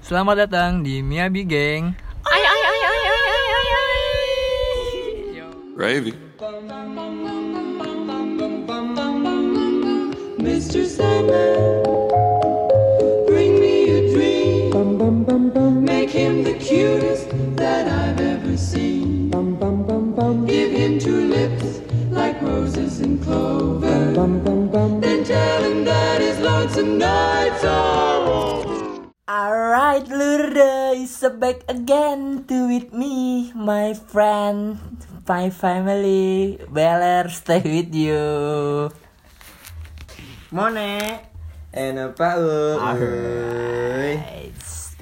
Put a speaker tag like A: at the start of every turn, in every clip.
A: Selamat datang di Miyabi Gang.
B: Ay, ay, ay, ay, ay, ay, ay,
C: Gravy.
D: Mr. Sandman, bring me a dream. Make him the cutest that I've ever seen. Give him two lips like roses and clover. Then tell him that his lonesome nights are over.
B: Alright, Lurda is back again to with me, my friend, my family. Beler, stay with you.
E: Mone enak Paul Uy.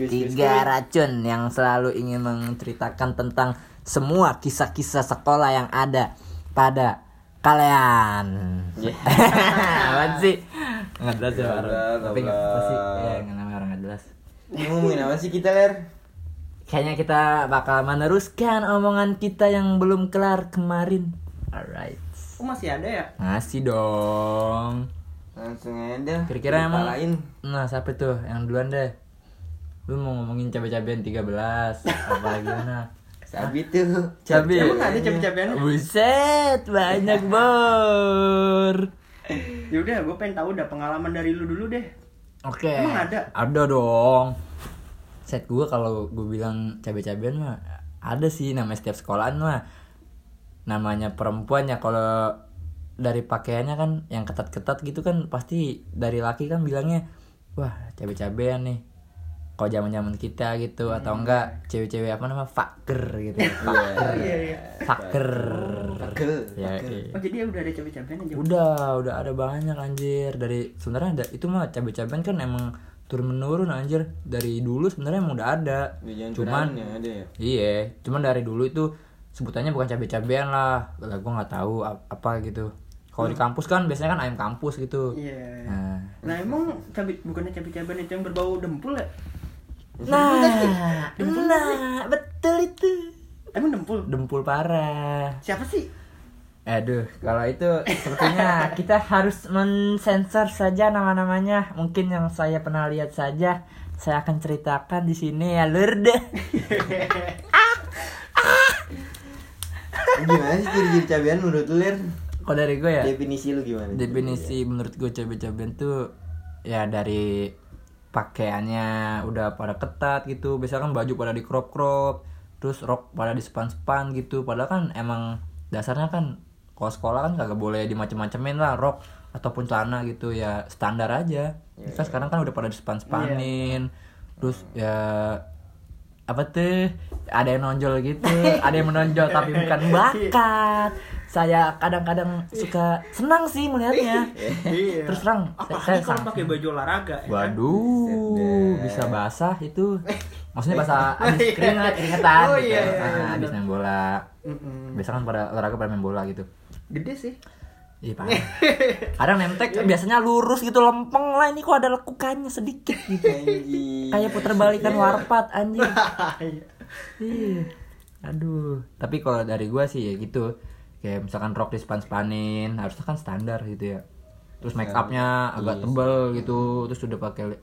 B: Tiga racun yang selalu ingin menceritakan tentang semua kisah-kisah sekolah yang ada pada kalian. Apaan sih? Nggak jelas ya
E: Nggak
B: orang.
E: jelas,
B: Tapi
E: nggak
B: nggak apa sih.
E: jelas.
B: Ya, nggak namanya orang nggak jelas.
E: Ini ngomongin apa sih kita ler?
B: Kayaknya kita bakal meneruskan omongan kita yang belum kelar kemarin. Alright.
E: Kok masih ada ya?
B: Ngasih dong.
E: Langsung aja
B: Kira-kira
E: Kita
B: emang
E: lain
B: Nah, siapa tuh yang duluan deh? Lu mau ngomongin cabe-cabean 13 apa gimana?
E: Cabi tuh
B: Cabi.
E: Emang nggak ada cabi-cabian?
B: Buset, banyak bor.
F: Yaudah, gue pengen tahu Ya udah pengalaman dari lu dulu deh.
B: Oke.
F: Emang ada?
B: Ada dong. Set gua kalau gue bilang cabe-cabean mah ada sih nama setiap sekolahan mah. Namanya perempuan ya kalau dari pakaiannya kan yang ketat-ketat gitu kan pasti dari laki kan bilangnya wah cabe-cabean nih. Kalau zaman-zaman kita gitu atau enggak cewek-cewek apa nama faker gitu. Faker.
F: Hmm. Iya, iya.
B: faker.
E: Pegel
B: Ya, iya.
F: Oh, jadi ya udah ada cabai-cabean aja.
B: Udah, udah ada banyak anjir. Dari sebenarnya ada itu mah cabe-cabean kan emang turun menurun anjir. Dari dulu sebenarnya emang udah ada.
E: Jangan
B: cuman
E: ya ada ya
B: iya, cuman dari dulu itu sebutannya bukan cabe-cabean lah. Lah gua nggak tahu ap- apa gitu. Kalau di kampus kan biasanya kan ayam kampus gitu.
F: Iya.
B: Nah,
F: Nah, emang cabai bukannya cabai-cabean itu yang berbau dempul ya?
B: nah, nah, betul itu.
F: Emang dempul?
B: Dempul parah.
F: Siapa sih?
B: Aduh, kalau itu sepertinya kita harus mensensor saja nama-namanya. Mungkin yang saya pernah lihat saja, saya akan ceritakan di sini ya, Lur deh.
E: Gimana sih ciri-ciri cabian menurut lu ler?
B: Kalau dari gue ya,
E: Definisi lu gimana?
B: definisi menurut gue cabe-cabean tuh ya dari pakaiannya udah pada ketat gitu. Biasanya kan baju pada di crop-crop, terus rok pada di sepan-sepan gitu. Padahal kan emang dasarnya kan kalau sekolah kan kagak boleh dimacem-macemin lah rok ataupun celana gitu ya standar aja. Terus kan sekarang kan udah pada di sepan-sepanin. Terus ya apa tuh ada yang nonjol gitu ada yang menonjol tapi bukan
F: Iya.
B: bakat saya kadang-kadang suka senang sih melihatnya
F: Iya.
B: terus terang saya,
F: Apalagi
B: saya
F: kalau pakai baju olahraga ya kan?
B: waduh bisa basah itu maksudnya basah habis keringat keringetan
F: Iya. Oh,
B: gitu
F: iya, iya,
B: Nah,
F: iya,
B: habis main bola biasa kan pada olahraga pada main bola gitu
F: Gede sih.
B: Ih, parah. kadang nemtek biasanya lurus gitu lempeng lah ini kok ada lekukannya sedikit gitu kayak puter balikan warpat anjing
F: Iya.
B: Ih, aduh tapi kalau dari gua sih ya gitu kayak misalkan rok di span spanin harusnya kan standar gitu ya terus make upnya agak tebel gitu terus udah pakai li-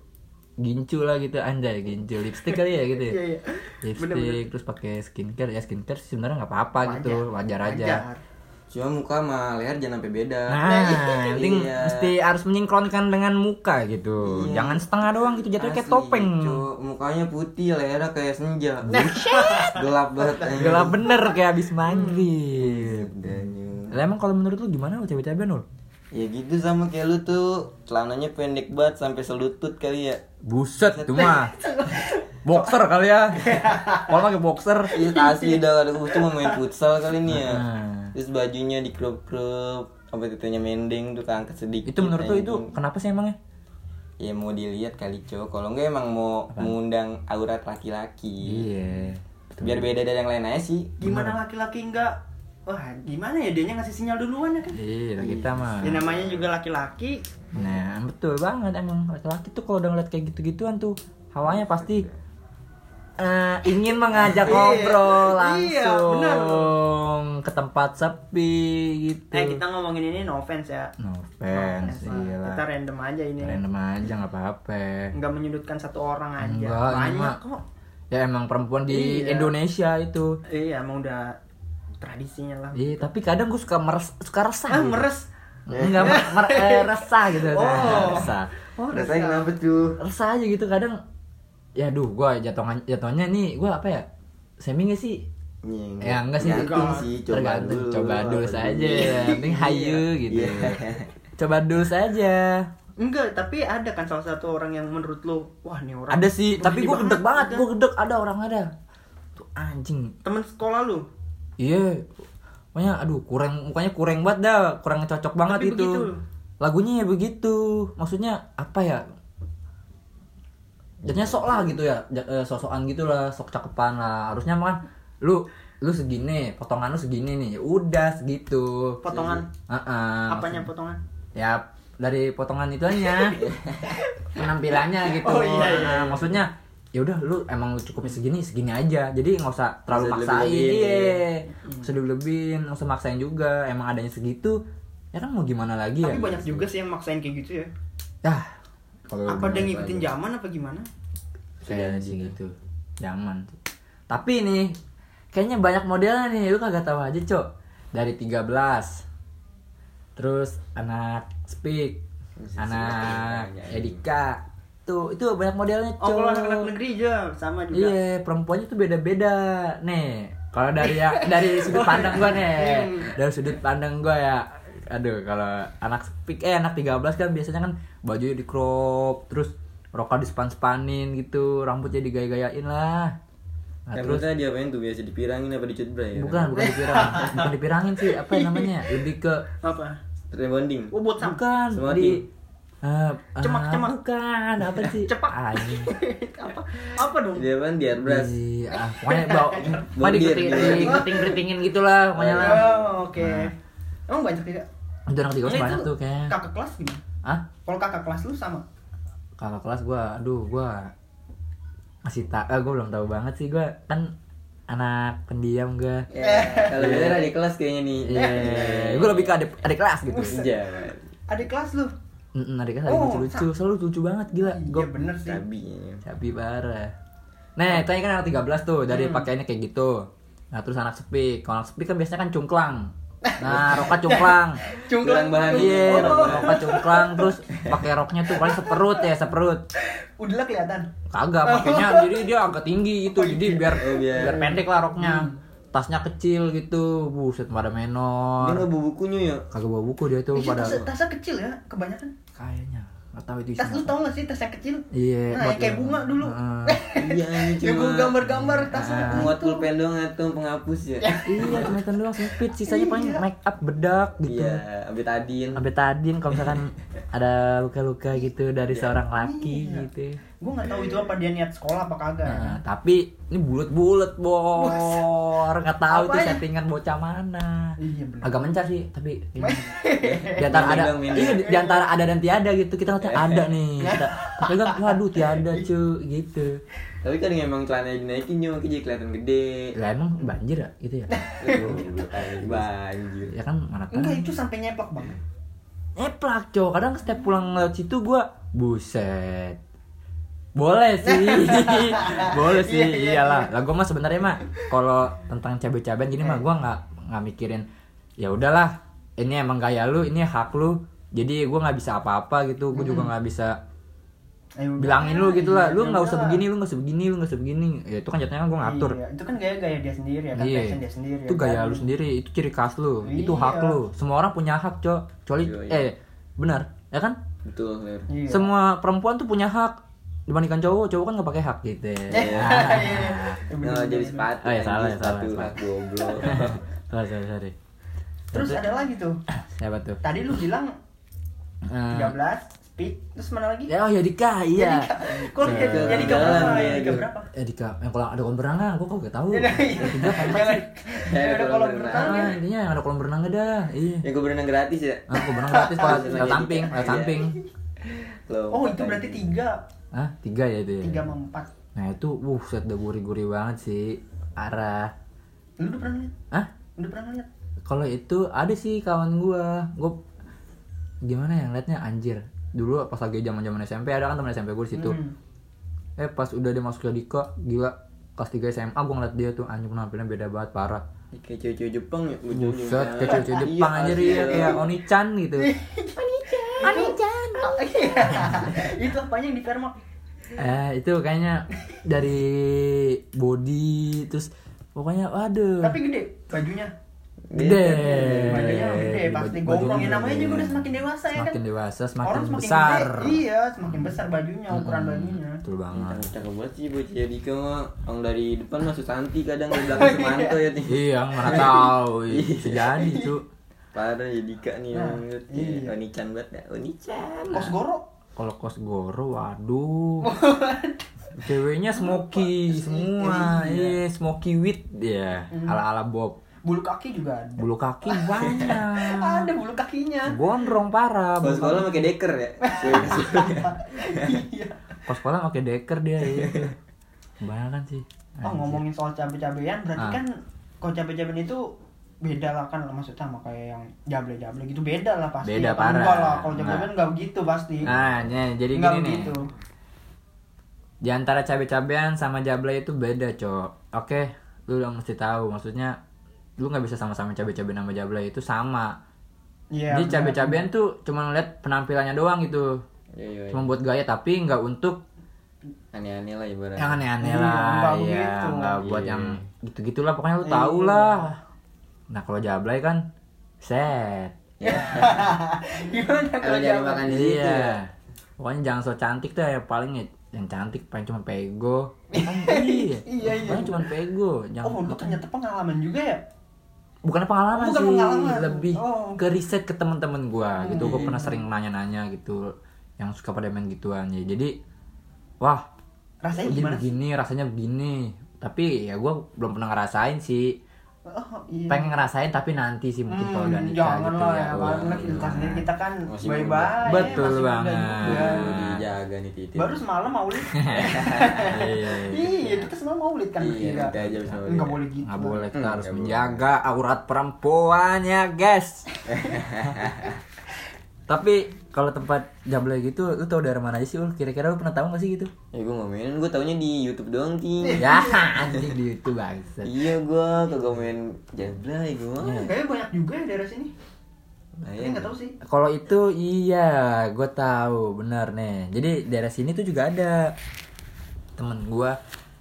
B: gincu lah gitu anjay gincu lipstick kali ya gitu ya
F: Iya, iya.
B: lipstick
F: Bener-bener.
B: terus pakai skincare ya skincare sih sebenarnya nggak apa-apa gitu wajar aja
F: Wajar.
E: Cuma muka sama leher jangan sampai beda
B: Nah, yang penting
E: Iya.
B: mesti harus menyinkronkan dengan muka gitu.
E: Iya.
B: Jangan setengah doang gitu jatuhnya kayak
E: Asli,
B: topeng. Nah,
E: cu. mukanya putih, lehernya kayak senja. Gelap banget. anjing.
B: Gelap bener kayak abis
F: Hmm.
B: maghrib.
E: Danyu.
B: Lah emang kalau menurut lu gimana lu cewek-cewek Nul?
E: Ya gitu sama kayak lu tuh, celananya pendek banget sampai selutut kali ya.
B: Buset itu mah. Boxer kali ya. Kalau pakai boxer.
E: Iya asli dah ada gua cuma main futsal kali ini ya.
B: Nah.
E: Terus bajunya di crop crop, apa titunya mending tuh keangkat sedikit.
B: Itu menurut lu itu
E: anjing.
B: kenapa sih emangnya?
E: ya mau dilihat kali cowok. Kalau enggak emang mau mengundang aurat laki-laki.
B: Iya.
E: Biar beda dari yang lain aja sih.
F: Gimana laki-laki enggak Wah, gimana ya dianya ngasih sinyal duluan ya kan?
B: Iya, kita mah.
F: Ya namanya juga laki-laki.
B: Nah, betul banget emang laki-laki tuh kalau udah ngeliat kayak gitu-gituan tuh hawanya pasti eh, ingin mengajak
F: Iya,
B: ngobrol
F: iya,
B: langsung
F: benar.
B: ke tempat sepi gitu.
F: Eh kita ngomongin ini no offense ya.
B: No offense,
F: Nah,
B: iyalah.
F: Kita random aja ini.
B: Random aja nggak apa-apa.
F: Nggak menyudutkan satu orang
B: Enggak,
F: aja.
B: ini
F: Banyak
B: mah-
F: kok.
B: Ya emang perempuan di
F: Iya.
B: Indonesia itu.
F: Iya, emang udah tradisinya lah.
B: Iya, tapi kadang gue suka meres, suka resah.
F: Ah,
B: gitu.
F: meres.
B: Enggak mer, mer- eh, resah gitu.
F: Oh.
B: Resah.
F: Oh,
E: Rasanya
F: resah.
E: kenapa tuh?
B: Resah aja gitu kadang. Ya duh, gua jatuhnya jatuhnya nih gua apa ya? Semi gak sih? Ya enggak sih,
E: Tergantung
B: enggak.
E: Iya, sih, coba
B: Tergantung,
E: dulu.
B: coba dulu
E: apa
B: saja.
E: dulu.
F: iya.
B: Yang penting hayu
E: Iya.
B: gitu.
E: Iya.
B: Coba dulu saja.
F: Enggak, tapi ada kan salah satu orang yang menurut lo, wah nih orang. gitu.
B: Ada sih,
F: begini
B: tapi gua gedek banget,
F: ada.
B: gua gedek ada orang ada. Tuh anjing.
F: Temen sekolah lu.
B: Iya. Pokoknya aduh kurang mukanya kurang banget dah, kurang cocok banget
F: Tapi
B: itu.
F: begitu.
B: Lagunya ya begitu. Maksudnya apa ya? Jadinya sok lah gitu ya, ja- eh, sosokan gitu lah, sok cakepan lah. Harusnya mah kan lu lu segini, potongan lu segini nih. Ya udah segitu.
F: Potongan?
B: Heeh.
F: Apanya potongan?
B: Ya dari potongan ituannya penampilannya gitu.
F: Oh, iya, iya,
B: Nah, maksudnya ya udah lu emang cukupnya segini segini aja jadi nggak usah terlalu
E: Nggak usah
B: maksain
E: dilebih-lebihin.
B: iya
F: Hmm.
B: nggak usah dilebin nggak usah maksain juga emang adanya segitu ya kan mau gimana lagi ya
F: Tapi banyak juga sih yang maksain kayak gitu ya.
B: Yah, kalau
F: Apa dia
B: iya.
F: ngikutin zaman apa gimana?
B: kayaknya sih gitu zaman tapi nih kayaknya banyak modelnya nih lu kagak tahu aja cok dari 13 terus anak speak anak Edika tuh itu banyak modelnya
F: Oh,
B: cok
F: kalau anak-anak negeri aja sama juga.
B: Iya, perempuannya tuh beda-beda. Nih, kalau dari ya- dari sudut pandang gua nih. Dari sudut pandang gua ya. Aduh, kalau anak speak eh anak 13 kan biasanya kan bajunya di crop, terus rokok di span-spanin gitu, rambutnya digaya-gayain lah. Nah, terus
E: Rambutnya diapain tuh biasa dipirangin apa dicutbray ya?
B: bukan bukan dipirang, bukan dipirangin sih, apa ya namanya? Lebih ke
F: Apa?
E: Rebonding.
F: Oh, buat sam.
B: bukan
E: Semati.
B: di eh, ah,
F: Cemak-cemak.
B: bukan apa sih?
F: Cepak.
B: Anjing.
F: apa? Apa dong?
E: Dia apaan? Di airbrush.
B: Iya, ah, pokoknya bau, pokoknya
E: Bondir,
B: diketing,
E: bondir.
B: diketing-ketingin gitulah, pokoknya lah.
F: Oh, oke. Emang banyak tidak?
B: Itu anak tikus
F: Nah,
B: Nah. banyak
F: itu
B: tuh kayaknya.
F: Kakak kelas gimana?
B: Hah?
F: Kalau kakak kelas lu sama?
B: Kakak kelas gua, aduh gua masih tak, ah, gua belum tahu banget sih gua kan anak pendiam gua.
E: Ya, Kalau beda di kelas kayaknya nih.
B: Iya, gua lebih ke adik, adik kelas gitu.
E: Iya.
F: Adik kelas lu?
B: Mm, adik kelas
F: Oh,
B: lucu-lucu, selalu lucu banget gila. Gua
F: Iya bener sih.
E: Sabi.
B: Cabi parah. Nah, tadi kan anak 13 tuh,
F: Hmm.
B: dari pakaiannya kayak gitu. Nah, terus anak sepi. Kalau anak sepi kan biasanya kan cungklang. Nah, roka cungklang.
E: Kurang bahan.
B: Iya,
E: Kurang bahan.
B: roka cungklang terus pakai roknya tuh paling seperut ya, seperut.
F: Udahlah kelihatan.
B: Kagak, pakainya jadi dia agak tinggi gitu. Jadi biar
E: Oh, Hmm. biar-
B: biar pendek lah roknya. Tasnya kecil gitu. Buset, pada
E: Dia nggak
B: menor.
E: bawa bukunya ya.
B: Kagak bawa buku dia tuh
F: Iya,
B: pada
F: tasnya- tasnya kecil ya, kebanyakan.
B: kayaknya. Enggak tahu itu
F: Tas lu
B: isinya. apa.
F: tau gak sih tas yang kecil?
B: Iya,
F: Nah,
B: buat Ah,
F: kayak
B: yang-
F: bunga dulu.
B: Heeh.
E: Iya,
F: Yang gua
E: cuma
F: gambar-gambar
B: Ah,
F: tasnya. gitu.
E: muat pulpen doang atau penghapus ya.
B: Iya, cuma itu doang sempit. Sisanya paling
F: Iya.
B: make up bedak gitu.
E: Iya, betadin.
B: Sampai tadi kalau misalkan ada luka-luka gitu dari
E: Iya.
B: seorang laki gitu.
F: Gua nggak tahu itu apa dia niat sekolah apa kagak. ya.
B: Nah, tapi ini bulat-bulat, Bor. Enggak tahu itu
F: Apanya?
B: settingan bocah mana.
F: Iya bener.
B: Agak mencar sih, tapi ini. di antara ada
E: Mending dong, mending.
B: iya, di antara ada dan tiada gitu. Kita ngeliatnya ada nih. Kita kita lihat, waduh tiada, cu gitu.
E: Tapi kan emang celananya dinaikin Nyu, makanya jadi kelihatan gede.
B: Lah emang banjir ya gitu ya.
E: Banjir.
B: Ya kan mana tahu.
F: Enggak itu sampai nyeplak
B: Iya.
F: banget.
B: Nyeplak cowok kadang setiap pulang lewat situ gua buset boleh sih boleh sih
F: Iya,
B: iyalah lah gua mah sebenarnya mah kalau tentang cabe-cabean gini
F: Eh.
B: mah gua nggak nggak mikirin ya udahlah ini emang gaya lu ini hak lu jadi gua nggak bisa apa-apa gitu gua juga nggak bisa
F: Ayo,
B: bilangin lu gitu lah lu nggak usah
F: udah.
B: begini lu nggak usah begini lu nggak usah begini ya itu kan jatuhnya kan gua ngatur Iya.
F: Iya, itu kan gaya-gaya dia sendiri ya, kan fashion dia sendiri.
B: itu
F: ya
B: gaya
F: kan?
B: lu sendiri, itu ciri khas lu, itu
F: Iya.
B: hak lu. Semua orang punya hak, Cok. Kecuali
E: Iya, iya.
B: eh benar, ya kan?
E: Betul, Ler.
F: Iya.
B: Semua perempuan tuh punya hak dibandingkan cowok, cowok kan nggak pakai hak gitu.
F: Eh, Iya.
E: Nah, jadi sepatu.
B: Oh, ya,
E: anjing,
B: salah, ya, salah,
E: sepatu,
B: salah.
E: goblok.
B: sorry, sorry, sorry.
F: Terus ada lagi tuh.
B: Siapa tuh?
F: Tadi lu bilang
B: Eh,
F: 13 speed terus mana lagi?
B: ya, oh ya Dika, iya.
F: Kok jadi jadi ke
E: Jalan,
F: berapa?
E: iya,
F: Jadi ke
E: iya.
F: berapa?
B: Eh Dika, yang kalau ada kolam berenang, gua kok gak tahu.
F: Iya, iya.
B: Tiga, empat
F: Jangan.
B: sih.
E: Ya,
F: Jangan ada
E: kalau
F: kolam
E: berenang.
F: renang ya.
B: Ah, intinya yang ada kolam berenangnya dah. Iya.
E: Yang gue berenang gratis ya.
B: Ah, kolam berenang gratis kalau
E: Iya.
B: lewat samping, lewat
E: Iya.
B: samping.
E: Loh,
F: Oh, itu
E: makanya.
F: berarti 3.
B: Ah, tiga ya itu ya.
F: 3 sama 4.
B: Nah itu, wuh, set udah gurih-gurih banget sih, arah.
F: Lu udah pernah lihat?
B: Ah,
F: Udah pernah lihat?
B: kalau itu ada sih kawan gua, gua gimana ya ngeliatnya anjir. Dulu pas lagi zaman zaman SMP ada kan teman SMP gua di situ.
F: Hmm.
B: Eh pas udah dia masuk ke Dika, gila kelas 3 SMA gua ngeliat dia tuh anjir penampilannya beda banget parah.
E: Kayak cewek-cewek Jepang ya ujung-ujungnya.
B: Buset, kayak cewek Jepang
E: Iya,
B: anjir
E: asli.
B: ya, kayak Oni-chan gitu.
F: Oh, iya. itu apanya yang di Fairmark?
B: Eh itu kayaknya dari body terus pokoknya waduh.
F: Tapi iya, gede bajunya.
B: gede.
F: Bajunya gede, pasti gombrong. Ya
B: Bajunya
F: namanya juga
B: Eh, gede.
F: udah semakin dewasa ya kan.
B: Semakin dewasa, semakin
F: Orang semakin
B: besar. Hmm.
F: gede, iya, semakin besar bajunya, ukuran bajunya.
B: Betul banget.
E: Cakep banget sih bocah ya, Dika mah Orang dari depan masuk Santi kadang Di
F: Oh,
E: belakang Sumanto ya nih
B: Iya, mana tahu. iya. Bisa jadi, Cuk.
E: Parah ya Dika nih
F: Nah,
E: orang liat
F: iya.
E: ya Oni-chan banget ya Oni-chan
F: Kos goro.
B: Kalau kos goro, waduh. Ceweknya smoky semua. Iya, smoky wit ya.
F: Hmm.
B: Ala-ala Bob.
F: Bulu kaki juga ada.
B: Bulu kaki banyak.
F: Ada bulu kakinya.
B: Gondrong parah.
E: Kalau
B: bulu
E: sekolah pakai deker ya
F: iya.
B: Kos sekolah pakai deker dia iya. Kebanyakan sih.
F: Oh ngomongin soal cabe-cabean berarti
B: Ah.
F: kan kalau cabe-cabean itu beda lah kan maksudnya sama kayak yang jable-jable gitu beda lah pasti.
B: Beda
F: Kalau
B: parah.
F: Enggak lah kalau
B: Enggak.
F: cabe-cabean enggak begitu pasti.
B: Nah, ya, jadi
F: enggak
B: gini
F: begitu.
B: nih. Di antara cabe-cabean sama jable itu beda, Cok. Oke, lu udah mesti tahu maksudnya lu nggak bisa sama-sama cabe-cabean sama jable itu sama.
F: Iya.
B: jadi
F: benar.
B: cabe-cabean tuh cuma ngeliat penampilannya doang gitu.
E: Iya, iya, iya.
B: Cuma buat gaya tapi nggak untuk
E: Aneh-aneh lah ibaratnya
B: yang aneh-aneh
F: Iya, nggak
B: lah ya,
F: begitu.
B: nggak buat
E: Iya.
B: yang gitu-gitulah pokoknya lu tau
F: Iya.
B: lah. Nah, kalau jable kan set.
F: Gimana kalau
E: Kalau nyari
F: jable?
E: makan di situ ya
B: Iya. Pokoknya jangan so cantik deh ya paling ya- yang cantik paling cuma pego. Kan iya.
F: Iya, iya.
B: Paling cuma pego. Jangan
F: Oh, lu ternyata pengalaman juga ya?
B: bukan pengalaman
F: Bukan
B: sih,
F: pengalaman.
B: lebih
F: Oh. Hmm.
B: ke riset ke teman-teman gua gitu. Gua pernah sering nanya-nanya gitu yang suka pada main gituan ya. Jadi wah,
F: Rasanya
B: jadi
F: gimana?
B: begini rasanya begini. Tapi ya gua belum pernah ngerasain sih.
F: Oh, iya.
B: Pengen ngerasain tapi nanti sih mungkin kalau udah
F: Hmm,
B: nikah
F: jangan
B: gitu ya.
F: lah
B: Wah,
F: ya,
B: iya.
F: apalagi kita sendiri kita kan
E: Masih
F: bye-bye
B: Betul
F: masih muda
B: banget.
F: juga.
E: Perlu dijaga nih titik
F: Baru semalam Maulid.
B: Iya, iya.
F: Iya, kita semalam Maulid kan
E: Iya,
F: bertiga.
E: nanti aja sama
F: Enggak
E: dia.
F: boleh gitu.
B: Nggak boleh, kita
E: Hmm,
B: harus
E: nggak boleh.
B: menjaga aurat perempuan ya guys Tapi kalau tempat jable gitu, lu tau dari mana aja sih ul? Kira-kira lu pernah tahu gak sih gitu?
E: Ya gue nggak main, gue taunya di Youtube doang
F: Iya.
E: Ting
B: ya anjing di Youtube bangsat
E: Iya gue, kagak main Jablay gue
F: Oh,
B: Iya.
F: Kayaknya banyak juga ya daerah sini.
E: Nah,
F: Tapi enggak Kan tahu sih.
B: Kalau itu iya, gue tahu bener nih Jadi daerah sini tuh juga ada Temen gue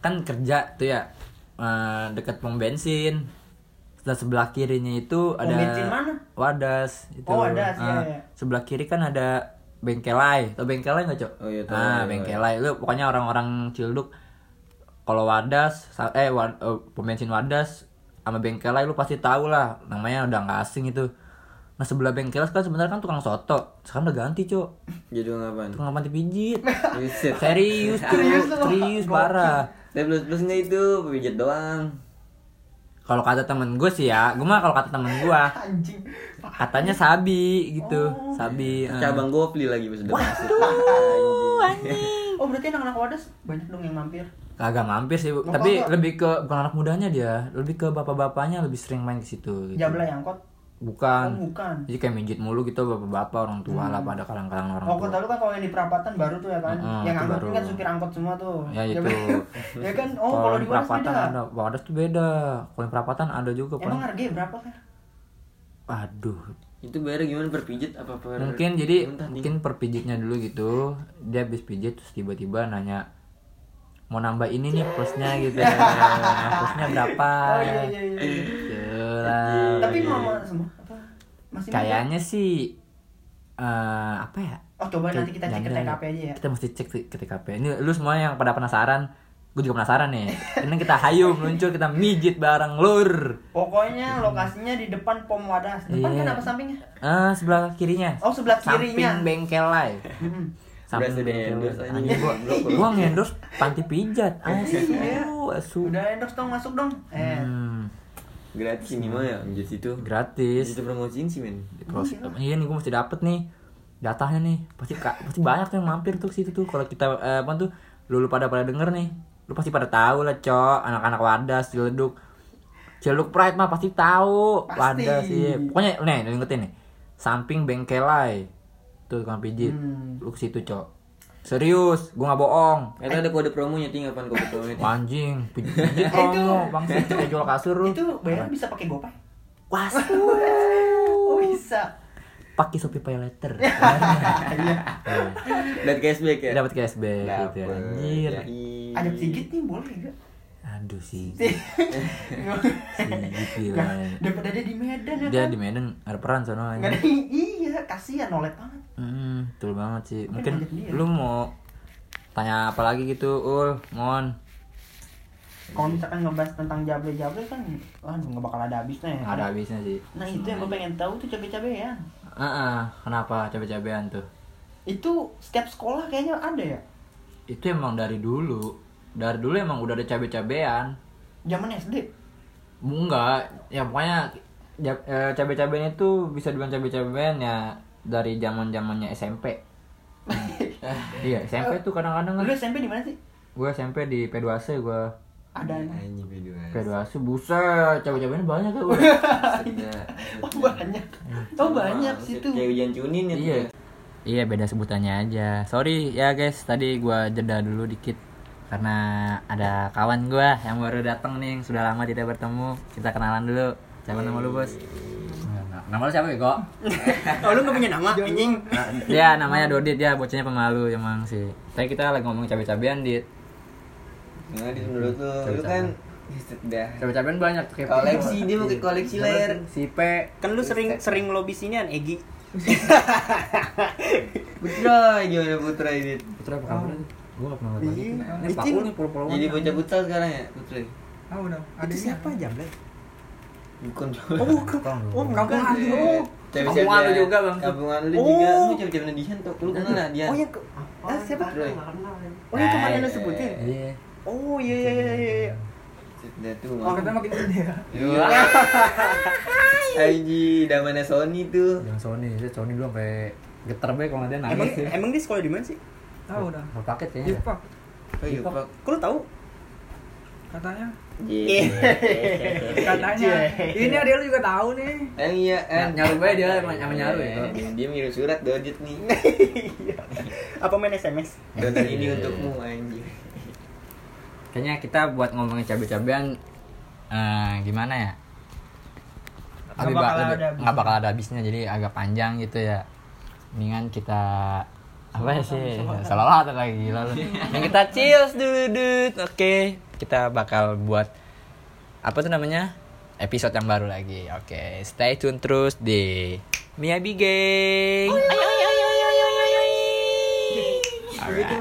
B: kan kerja tuh ya eh, Deket pom bensin Setelah sebelah kirinya itu ada
F: bensin mana?
B: Wadas itu.
F: Oh, Wadas, iya,
B: Ah,
F: iya.
B: Sebelah kiri kan ada bengkelai. Tau bengkelai nggak, Cok?
E: Oh, iya, tahu,
B: Nah,
E: iya,
B: bengkelai. Lu pokoknya orang-orang cilduk kalau Wadas sa- eh wa- eh, pom bensin Wadas sama bengkelai lu pasti tahu lah. Namanya udah nggak asing itu. Nah, sebelah bengkelai kan sebenarnya kan tukang soto. Sekarang udah ganti, Cok.
E: Jadi lu ngapain?
B: Tukang panti pijit.
E: Buset.
B: Serius, Cok.
F: Serius
B: Serius,
F: lu? Gokil.
B: parah.
E: Tapi plus plus nggak itu pijat doang.
B: Kalau kata temen gue sih ya, gue mah kalau kata temen gue,
F: Anjing.
B: katanya sabi gitu, sabi. eh.
E: Cabang gopli lagi pas udah masuk.
F: Oh, berarti anak-anak Wadas banyak dong yang mampir.
B: Kagak mampir sih, Bu.
F: Mau
B: tapi
F: kagak?
B: lebih ke bukan anak mudanya dia, lebih ke bapak-bapaknya lebih sering main ke situ. Gitu.
F: Jablay angkot.
B: Bukan.
F: Oh, bukan.
B: Jadi kayak mijit mulu gitu bapak-bapak orang tua lah pada kalang-kalang orang
F: Oh,
B: tua.
F: kota lu kan kalau yang di perapatan baru tuh ya kan.
B: Mm-mm,
F: yang
B: Ah, itu
F: angkot
B: baru.
F: kan supir angkot semua tuh.
B: Ya, itu.
F: ya kan. Oh, kalau di Wadas
B: perapatan
F: beda.
B: ada, wadas tuh beda. Kalau yang perapatan ada juga
F: Emang
B: paling.
F: harganya berapa kan?
B: Aduh.
E: Itu bayar gimana per pijat apa per?
B: Mungkin jadi
E: Entah, Ting.
B: mungkin per pijitnya dulu gitu. Dia habis pijit terus tiba-tiba nanya mau nambah ini nih plusnya gitu. Nah, plusnya berapa?
F: Oh, iya iya iya.
B: Gitu lah.
F: Tapi mama semua apa? Masih muda?
B: Kayaknya sih eh apa ya?
F: Oh, coba nanti kita cek ke
B: Jangan-
F: TKP aja ya.
B: Kita mesti cek ke- ke TKP. Ini lu semua yang pada penasaran, gue juga penasaran nih. Ini kita hayu meluncur, kita mijit bareng lur.
F: Pokoknya lokasinya di depan pom wadas. Depan
B: Iya.
F: kan apa sampingnya?
B: Eh sebelah kirinya.
F: Oh, sebelah kirinya.
B: Samping bengkel lai.
F: Mm-mm.
B: Samping
E: Berasa Iya.
B: bengkel
E: di-endorse
B: lai.
E: aja.
B: Anjing, gua, gua ngendorse panti pijat. Asu, asu.
F: Udah endorse dong masuk dong. Eh,
B: Hmm,
E: Gratis ini mah ya pijat situ.
B: gratis.
E: Itu promosiin sih men.
B: Di pros- iya nih gue mesti dapet nih datanya nih pasti ka- pasti banyak tuh yang mampir tuh ke situ tuh kalau kita eh, apa tuh lulu pada pada denger nih lu pasti pada tahu lah cok anak-anak wadas ciledug ciledug pride mah pasti tahu
F: Pasti.
B: wadas sih pokoknya nih lu ingetin nih samping bengkelai tuh tukang pijit
F: Hmm.
B: lu ke situ cok serius gua nggak bohong
E: Itu ada kode promonya tinggal pan kode promonya. Ting.
B: anjing pijit pijit promo bang kayak jual kasur lu
F: Itu bayar bisa pakai gopay?
B: was
F: Oh bisa.
B: pakai shopee pay letter
F: Iya.
E: Dan cashback ya.
B: dapat cashback gitu
E: Dapet.
B: anjir
E: Yai.
F: Ada
B: Iya.
F: sigit nih boleh nggak?
B: aduh sih
F: Iya. Sigit
B: gila.
F: Daripada dia di Medan ya
B: iya. dia
F: kan?
B: di Medan ada peran sono aja
F: Nggak ada iya kasihan nolet banget.
B: Hmm, betul banget sih.
F: Mungkin
B: Mungkin
F: lanjut Kan dia.
B: lu mau tanya apa lagi gitu, Ul, Mon.
F: Kalau misalkan ngebahas tentang jable-jable kan, aduh nggak bakal ada habisnya ya.
B: Nggak ada habisnya sih.
F: Nah itu yang gue pengen tahu tuh cabe-cabean.
B: Ah, ah, kenapa cabe-cabean tuh?
F: Itu setiap sekolah kayaknya ada ya.
B: Itu emang dari dulu. Dari dulu emang udah ada cabe-cabean.
F: Zaman SD.
B: Enggak, ya pokoknya ja- eh, cabe-cabean itu bisa dibilang cabe-cabean ya dari zaman-zamannya SMP. iya, SMP tuh kadang-kadang
F: Lu
B: kan
F: SMP di mana sih?
B: gue SMP di P2C gue
F: Ada
B: Iya.
F: anak.
E: Anjing biduan.
B: P2C buset, cabe-cabeannya banyak ya gue.
F: Oh banyak. Oh banyak situ.
E: Kayak hujan cunin ya.
B: Iya. Iya beda sebutannya aja. Sorry ya guys, tadi gua jeda dulu dikit karena ada kawan gua yang baru datang nih, yang sudah lama tidak bertemu. Kita kenalan dulu. Siapa nama lu, Bos? Nah, Nama lu siapa, Bego?
F: Oh lu gak punya nama? Anjing.
B: Dia namanya Dodit, dia bocahnya pemalu emang sih. Tapi kita lagi ngomong cabe-cabean, Dit.
E: Nah, di menurut lu, lu kan sudah
B: Cabe-cabean banyak kayak
E: koleksi dia mau ke koleksi layar.
B: si P.
C: Kan lu sering sering lobby sinian Egi.
E: Putra gimana Putra ini?
B: Putra apa kabar? Gua nggak pernah ngeliat lagi. Ini
C: Licin.
B: Pakul nih polo-poloan.
E: Oh.
C: kan?
E: Jadi bocah buta sekarang ya, Putra.
C: Ada siapa Jable?
E: Bukan. iya.
C: Oh, bukan. Oh, kampung Andi. Oh,
E: Kampungan
B: lu juga, Bang.
E: Kampungan lu
C: Oh.
E: juga. Lu cewek-cewek Dian tuh. Lu kenal Iya. lah Dian.
C: oh
F: iya.
C: yang ke, eh, siapa?
E: Putra.
C: Oh, yang kemarin lu
E: Eh,
C: sebutin.
B: Iya.
C: Oh, iya iya iya iya, iya.
E: Dia tuh. Iya.
C: Oh, kata makin gede ya.
E: Aji, damannya Sony tuh.
B: Yang Sony, saya Sony dulu sampai getar banget kalau dia
C: Emang
B: nangis. ya.
F: iya?
C: emang dia sekolah di mana sih?
G: Tahu dah.
B: Mau paket kayaknya. dah.
G: Jepang
E: Oh, iya, Pak.
C: Kok lu tahu?
G: katanya.
E: Iya.
G: Katanya. Ini ada lu juga tahu nih.
E: Eh iya, eh
B: Nah, nyaru bae dia sama sama nyaru ya.
E: Eh, Dia, dia ngirim surat dodit nih.
C: Apa main SMS?
E: Dodit ini untukmu anjir.
B: Kayaknya kita buat ngomongin cabe-cabean eh, gimana ya? Lebih ba- lebih-
F: bakal ada habisnya.
B: nggak bakal ada habisnya jadi agak panjang gitu ya. Mendingan kita apa ya sih? Salawat lagi gila lu. Yang kita cheers dulu, dud. Oke, kita bakal buat apa tuh namanya? Episode yang baru lagi. Oke, stay tune terus di Miyabi Gang. Ayo ayo ayo ayo ayo ayo. Alright.